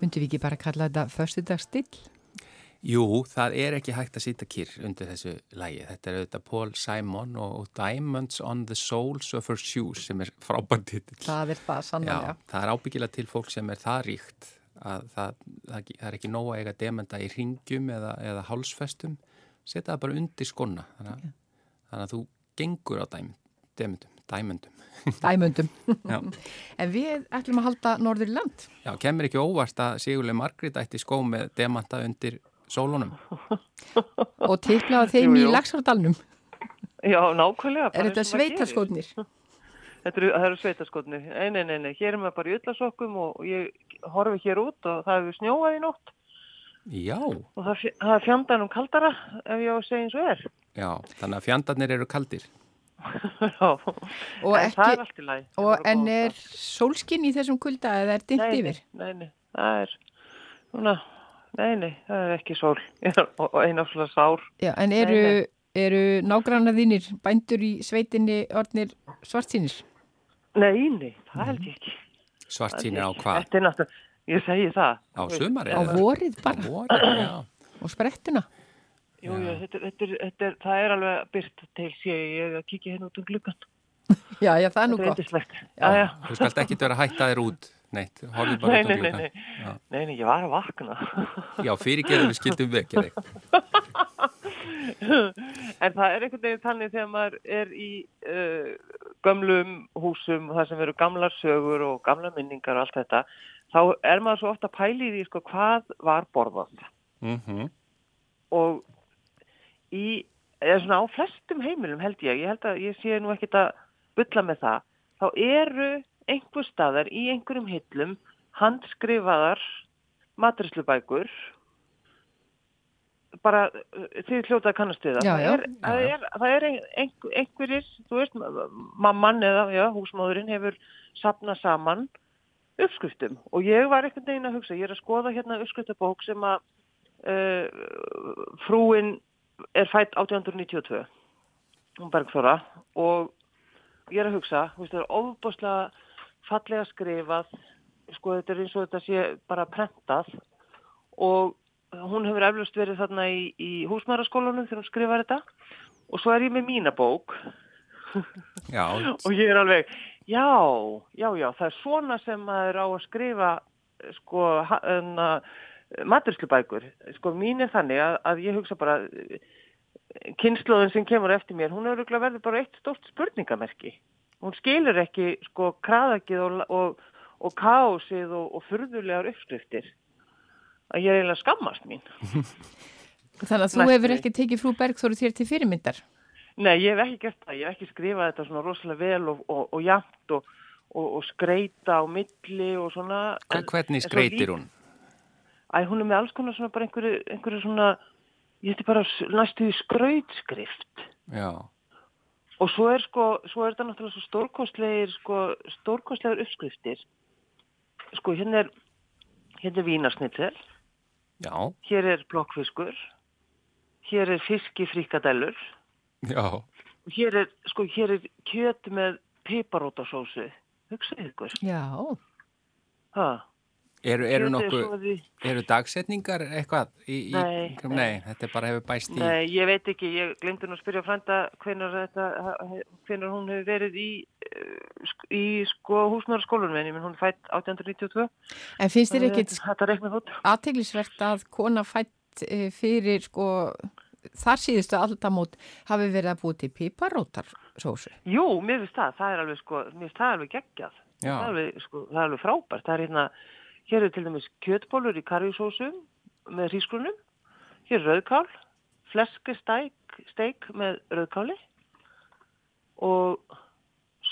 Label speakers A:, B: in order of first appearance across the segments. A: Myndum við ekki bara kalla þetta förstudagsstill?
B: Jú, það er ekki hægt að sýta kýr undir þessu lægi. Þetta er auðvitað Paul Simon og Diamonds on the Soles of Her Shoes sem er frábært hittill.
A: Það er það sannlega.
B: Já, það er ábyggilega til fólk sem er það ríkt að það, það, það er ekki nóg að eiga demenda í ringjum eða, eða hálsfestum. Setja það bara undir skona. Þannig, að- þannig að þú gengur á dæm, demendum, dæmendum.
A: Dæmundum.
B: Já.
A: en við ætlum að halda Norðurland.
B: Já, kemur ekki óvart að Sigurlega Margrét ætti skó með demanta undir sólunum.
A: og tiplaða þeim
C: Jú, jú.
A: í Lagsardalnum.
C: Já, nákvæmlega. bara
A: Er þetta
C: eins og maður gerir.
A: sveitarskotnir?
C: Þetta eru, það eru sveitaskotnir. Nei, nei, nei, nei, hér er maður bara í öllasokkum og ég horfi hér út og það hefur snjóað í nótt
B: Já,
C: og það, fj- það er fjandanum kaldara ef ég á að segja eins og er.
B: já, þannig að fjandarnir eru kaldir.
C: Já,
A: Og
C: en það er
A: ekki-
C: allt í lagi. Það
A: Og
C: bara
A: en
C: góð
A: er
C: dagar.
A: sólskinn í þessum kulda eða er dimmt
C: Nei, nei,
A: yfir?
C: Nei, nei, það er, svona, nei, nei, það er ekki sól og og einafslega sár.
A: Já, en eru,
C: Nei,
A: eru nágrannar þínir bændur í sveitinni orðnir svartínir?
C: Nei, nei, það held ég ekki.
B: Svart sínir á hvað?
C: Þetta er náttúrulega, ég segi það.
B: Á sumarið?
A: Á
B: eða?
A: vorið
B: Á
A: bara
B: vorið, já.
A: og sprettuna?
C: Jú, jú, þetta, er- þetta, er- þetta er, það er alveg byrt til sé ég, ég er að kíkja hérna út um gluggan.
A: Já, já, það er nú
C: Þetta er
A: gott.
C: indislegt.
B: Já,
C: Já, já.
B: Þú skalt ekki vera að hætta þér út, neitt, horfðu bara út
C: Nei, nei,
B: um
C: nei,
B: gluggan.
C: nei. Nei, nei, ég var að vakna.
B: Já, fyrirgeðu við skildum vekja þig.
C: en það er einhvern veginn þannig þegar maður er í uh, gömlum húsum, það sem eru gamlar sögur og gamla minningar og allt þetta, þá er maður svo ofta pælið í því, sko, hvað var borðað.
B: Mm
C: Og í, eða svona á flestum heimilum held ég, ég held að ég sé nú ekkit að bylla með það, þá eru einhver staðar í einhverjum hillum handskrifaðar maturislubækur bara uh, þið hljóta að kannast við það
A: Já, já.
C: það er, það
B: Já, já.
C: er, það er ein- einhver, einhverir þú veist, mamman eða já, húsmóðurinn hefur sapnað saman uppskriftum og ég var einhvern veginn að hugsa, ég er að skoða hérna uppskriftabók sem að uh, frúin er fætt 1892 hún Bergþóra og ég er að hugsa, þú veist, það er ofbáslega fallega skrifað, sko þetta er eins og þetta sé bara prentað og hún hefur eflust verið þarna í, í húsmæðaraskólanum þegar hún skrifar þetta og svo er ég með mína bók
B: Já,
C: og ég er alveg, já, já, já, það er svona sem maður á að skrifa eh, sko ha- en, maturslubækur, sko mín er þannig að, að ég hugsa bara kynnslóðin sem kemur eftir mér, hún er örugglega verður bara eitt stórt spurningamerki hún skilur ekki sko kraðakið og, og, og kaosið og, og furðulegar uppskriftir að ég er eiginlega að skammast mín
A: Þannig að þú
C: Næstu.
A: hefur ekki tekið frú Bergþóru þér til fyrirmyndar?
C: Nei, ég hef ekki gert það, ég hef ekki skrifað þetta svona rosalega vel og, og, og jafnt og, og, og skreita á milli og svona.
B: Hver-
C: En- en
B: hvernig
C: svo
B: skreitir
C: líka-
B: hún?
C: Æ, hún er með alls konar svona bara einhverju, einhverju svona, ég hefði bara s- næstu í skrautskrift.
B: Já,
C: Og svo er sko, svo er þetta náttúrulega svo stórkostlegir, sko, stórkostlegar uppskriftir. Sko, hérna er, hérna er vínarsnittel,
B: já,
C: hér er blokkfiskur, hér er fiskifrikadellur,
B: já,
C: hér er, sko, hér er kjöt með piparótasósu. Hugsaðu ykkur.
A: Já,
C: Ha,
B: eru, eru
C: kjötið er
B: nokkuð,
C: soðið í-
B: eru dagsetningar eitthvað? Í, í,
C: Nei.
B: nei, þetta er bara hefur bæst í.
C: Nei, ég veit ekki, ég glemdi nú að spyrja frænda hvenar, þetta, hvenar hún hefur verið í, eh, sk- í sko, húsnarskólanum, en ég minn hún er fætt 1892.
A: en finnst þér ekkit
C: Þetta reiknað út.
A: aðteglisvert að kona fætt eh, fyrir sko þar síðustu aldamót hafi verið að búið til piparótarsósu.
C: Jú, mér finnst það, það er alveg, sko, mér finnst það alveg geggjað.
B: Já.
C: Það er alveg, sko, það er alveg frábært. Það er hérna, hér eru til dæmis kjötbólur í karjusósum með hrísgrunum, hér er rauðkál, fleskesteik steik með rauðkáli og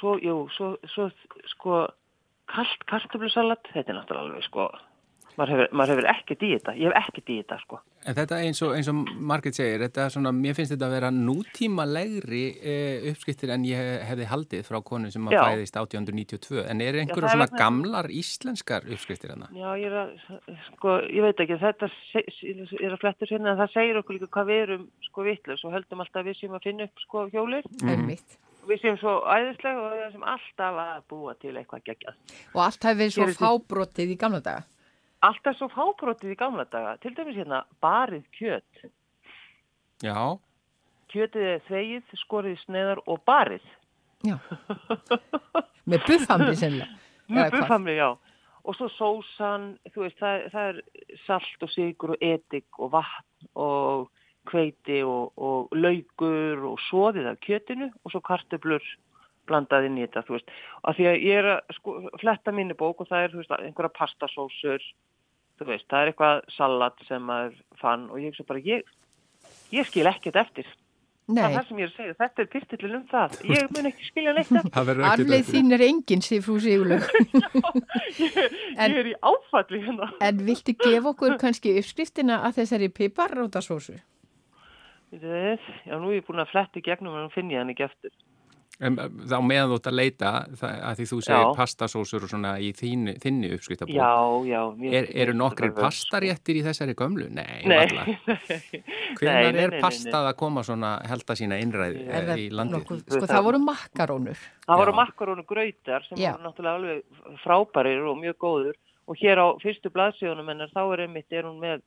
C: svo, jú, svo, svo sko, kalt kartöflusalat, þetta er náttúrulega alveg, sko, maður hefur, maður hefur ekkert í þetta, ég hef ekkert í þetta, sko.
B: En þetta eins og, eins og Margrét segir, þetta er svona, mér finnst þetta að vera nútímalegri eh, uppskiptir en ég hefði haldið frá konu sem að
C: Já.
B: fæðist 1892. En eru einhverju
C: það er
B: svona
C: vegna-
B: gamlar íslenskar uppskiptir hana?
C: Já, ég er að, sko, ég veit ekki, þetta se- ég er að flettur hérna en það segir okkur líka hvað við erum, sko, vittlust og höldum alltaf að við séum að finna upp, sko, hjólið.
A: Mm. Einmitt.
C: Og Við séum svo æðislega og við séum alltaf að búa til eitthvað geggjað.
A: Og allt hafi verið svo
C: Gerið þið-
A: fábrotið í gamla daga.
C: alltaf svo fákrótið í gamla daga, til dæmis hérna barið kjöt.
B: Já,
C: Kjötið er þegið, skorið í sneiðar og barið.
A: Já. Með buffamri sennilega.
C: Mjög
A: Eða hvað?
C: bufamri, já. Og svo sósan, þú veist, það, það er salt og sigur og etik og vatn og kveiti og, og laukur og svoðið af kjötinu og svo kartöblur blandað inn í þetta, þú veist. Af því að ég er að sko, fletta minni bók og það er, þú veist, einhverja pastasósur, þú veist, það er eitthvað salat sem maður fann og ég hugsa bara, ég, ég skil ekkert eftir. Það
A: Nei,
C: er það sem ég er að segja, þetta er pyrtillin um það. Ég mun ekki skilja neitt eftir.
B: það verður ekki
A: arfleð þín er enginn, segir frú Sigurlaug. En-
C: Ég er í áfalli hérna.
A: En viltu gefa okkur kannski uppskriftina að þessari piparrótasósu?
C: Við, já, nú er ég búin að fletti gegnum en nú finn ég hann ekki eftir.
B: En þá meðan þú ert að leita, það, að því þú segir
C: Já.
B: pastasósur og svona í þínu, þinni uppskritabók,
C: Já, já. mér-
B: er, eru nokkrir
C: alveg-
B: pastaréttir í þessari gömlu? Nei,
C: Nei,
B: varla.
C: nei. Nei,
B: Hvenær
C: nei,
B: er
C: nei, nei,
B: pastað að koma svona helda sína innræði
A: Er
B: eh,
A: það
B: í landið?
A: nokkuð-
C: Við
A: Sko
C: það-
A: það voru makkarónur.
C: Það voru
B: Já.
C: makkarónu gröytar sem
A: Já.
C: voru náttúrulega alveg frábærir og mjög góður og hér á fyrstu blaðsíðunum en þá er einmitt, er hún með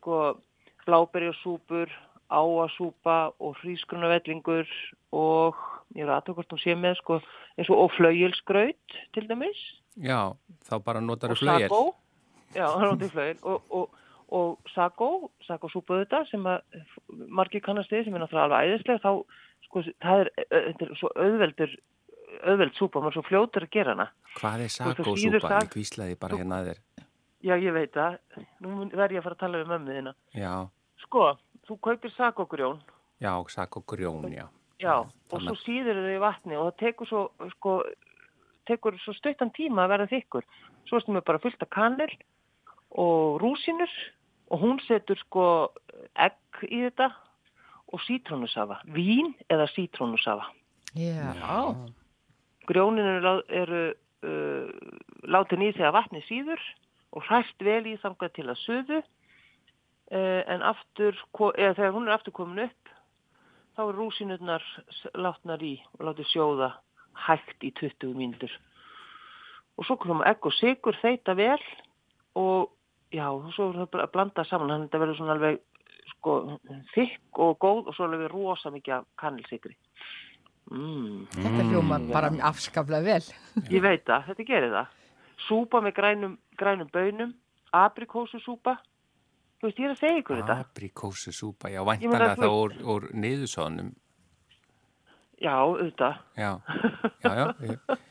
C: sko bláberjarsúpur, áasúpa og hrísgrunavellingur og ég er aðtökk hvort hún sé með sko eins og og flauilsgraut til dæmis
B: Já, þá bara notar
C: og
B: þú flögir.
C: sagó já, rótið flögir og, og, og sagó, sagó súpaðu þetta sem að margir kannast þið sem er náttúrulega alveg æðislega þá, sko, það er, ö- þetta er svo auðveldur auðveld súpa, maður er svo fljótur að gera hana
B: Hvað er
C: þú
B: sagósúpa?
C: þýður það-
B: Ég kvíslaði bara hérna að þér.
C: já, ég veit það, nú mun- verð ég að fara að tala við mömmu þina
B: Já,
C: sko, þú kaupir sagógrjón
B: já, sagógrjón, já.
C: já, og
B: þannig
C: svo síður þau í vatni og það tekur svo, sko tekur svo stuttan tíma að verða þykkur svo erstum við bara fullt af kanil og rúsinur og hún setur sko egg í þetta og sítrónusafa vín eða sítrónusafa
A: Já.
C: grjónin eru, lá- eru uh, látin í þegar vatni síður og hræst vel í þangað til að suðu uh, en aftur ko- eða þegar hún er aftur komin upp þá eru rúsinurnar s- látnar í og látið sjóða hægt í 20 mínútur og svo koma egg og sigur þeita vel og já, og svo er það bara að blanda saman þannig að þetta verður svona alveg sko, þykk og góð og svo alveg rosa mikið af kannilsigri mmm
A: Þetta hljómar bara
B: Mm.
A: afskaflega vel.
C: Ég veit það, þetta gerir það. Súpa með grænum, grænum bönum, aprikósusúpa. Þú veist, ég er að segja ykkur þetta.
B: Aprikósu súpa, já,
C: Ég meina,
B: væntanlega
C: þú
B: þá úr, úr niðursóðnum.
C: Já, auðvitað.
B: Já, já, já.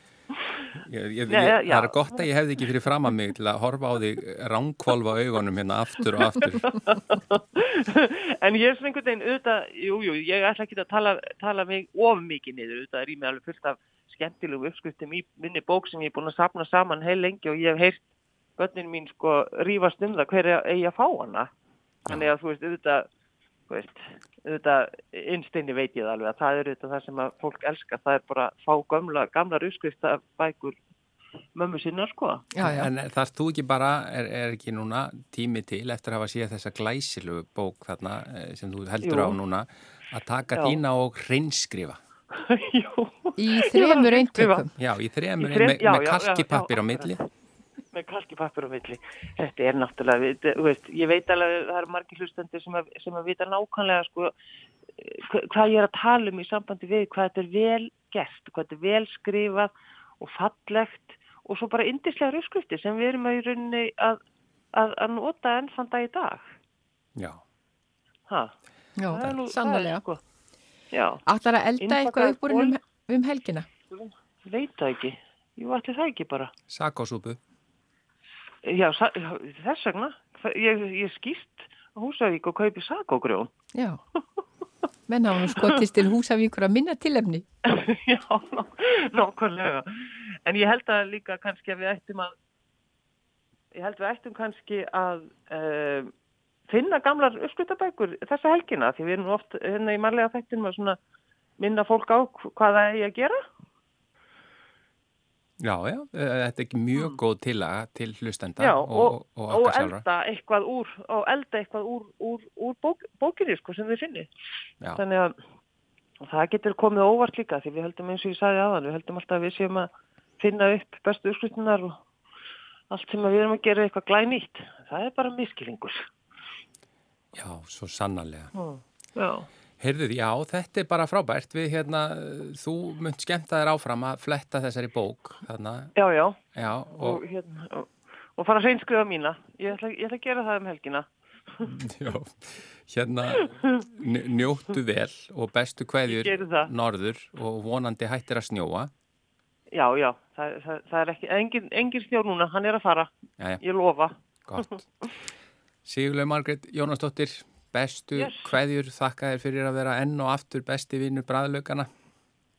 B: Ég, ég, ég,
C: Nei,
B: ég,
C: já.
B: það er gott að ég hefði ekki fyrir fram að mig til að horfa á þig ránkvolfa augunum hérna aftur og aftur.
C: en ég er svona einhvern veginn auðvitað, jú, jú, ég ætla ekki að tala, tala mig of mikið niður auðvitað, er í mig alveg fullt af skemmtilegum uppskriftum í minni bók sem ég er búin að sapna saman heil lengi og ég hef heyrt börnin mín sko rífast um það hverja eigi að fá hana. Þannig að þú veist, auðvitað, þú veist, auðvitað, innsteinni veit ég það alveg að það er auðvitað það sem að fólk elskar, það er bara að fá gamla, gamlar uppskrifta bækur mömmu sinna sko.
A: Já, já.
B: En þarf þú ekki bara, er, er ekki núna tími til eftir að hafa síða þessa glæsilu bók þarna eh, sem þú heldur
C: Jú.
B: á núna að taka
C: Já.
B: þína og hreinskrifa.
C: Jú.
A: Í
C: Ég var að
A: þremur
C: skrifa.
A: eintökum.
B: Já, í þremur,
C: Í þrem-
B: með,
C: já,
B: með
C: já, já,
B: kalkipappir
C: já,
B: á milli.
C: með kalkipappur á milli. Þetta er náttúrulega, við- þú veist, ég veit alveg að það eru margir hlustandi sem að, sem að vita nákvæmlega sko, hva- hvað ég er að tala um í sambandi við, hvað þetta er vel gert, hvað þetta er vel skrifað og fallegt og svo bara yndislega rauðskrifti sem við erum að í rauninni að, að, að nota enn þann dag í dag.
B: Já,
C: Ha,
A: Já,
C: það er nú- það er
A: sannlega.
C: Sko, já,
A: Ætlar að elda eitthvað
C: Innpakkaður
A: upp úr um, um helgina?
C: ég veit það ekki. Jú, allir það ekki bara.
B: sakásúpu.
C: Já, sa- já, þess vegna, Það- ég, ég skýst á Húsavík og kaupi sakogrjón.
A: Já. Menn hafa nú skotist til húsavíkur að minna tilefni.
C: Já, ná- nákvæmlega. En ég held að líka kannski að við ættum að, ég held við ættum kannski að uh, finna gamlar uppskuttabækur þessa helgina því við erum nú oft hérna í marlega þættinum að svona minna fólk á hv- hvað það eigi að gera.
B: Já, já, eh, þetta er ekki mjög góð tilaga til hlustenda
C: Mm. Já,
B: og, og, og
C: og
B: okkar sjálfra.
C: elda eitthvað úr, og elda eitthvað úr, úr, úr bók, bókinni sko sem við finnið.
B: Já.
C: þannig að og það getur komið óvart líka því við heldum eins og ég sagði aðan, við heldum alltaf að við séum að finna upp bestu úrskriftunar og, allt sem við erum að gera eitthvað glænýtt. Það er bara miskilingur.
B: Já, svo sannarlega.
C: Mm. Já.
B: Heyrðuð, já, þetta er bara frábært. Við hérna, þú munt skemmta þér áfram að fletta þessari bók. Þarna,
C: já, já,
B: já,
C: og,
B: og,
C: hérna, og, og fara að hreinskriða mína. Ég ætla, ég ætla að gera það um helgina.
B: já, hérna, nj- njóttu vel og bestu kveðjur
C: Ég geri það.
B: norður og vonandi hættir að snjóa.
C: Já, já, það, það, það er ekki, engin, engin snjór núna, hann er að fara,
B: Jæja,
C: ég lofa.
B: gott. Sigurlega Margrét Jónasdóttir, bestu
C: Yes.
B: kveðjur, þakka þér fyrir að vera enn og aftur besti vinnur bræðlaugana.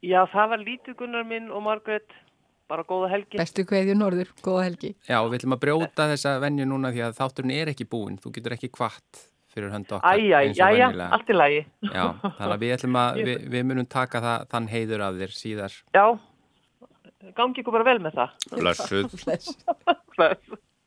C: Já, það var lítið Gunnar minn og Margrét, bara góða helgi.
A: Bestu kveðju norður, góða helgi.
B: Já, og við ætlum að brjóta þessa venju núna því að þátturinn er ekki búinn. Þú getur ekki kvart fyrir hönd okkar
C: Æja,
B: eins og
C: jæja,
B: venjulega.
C: allt í lagi.
B: Já, þannig að við ætlum að, við, við munum taka það, þann heiður af þér síðar.
C: Já, gangi ykkur bara vel með það.
B: Blessuð.
A: Bless.
C: Bless.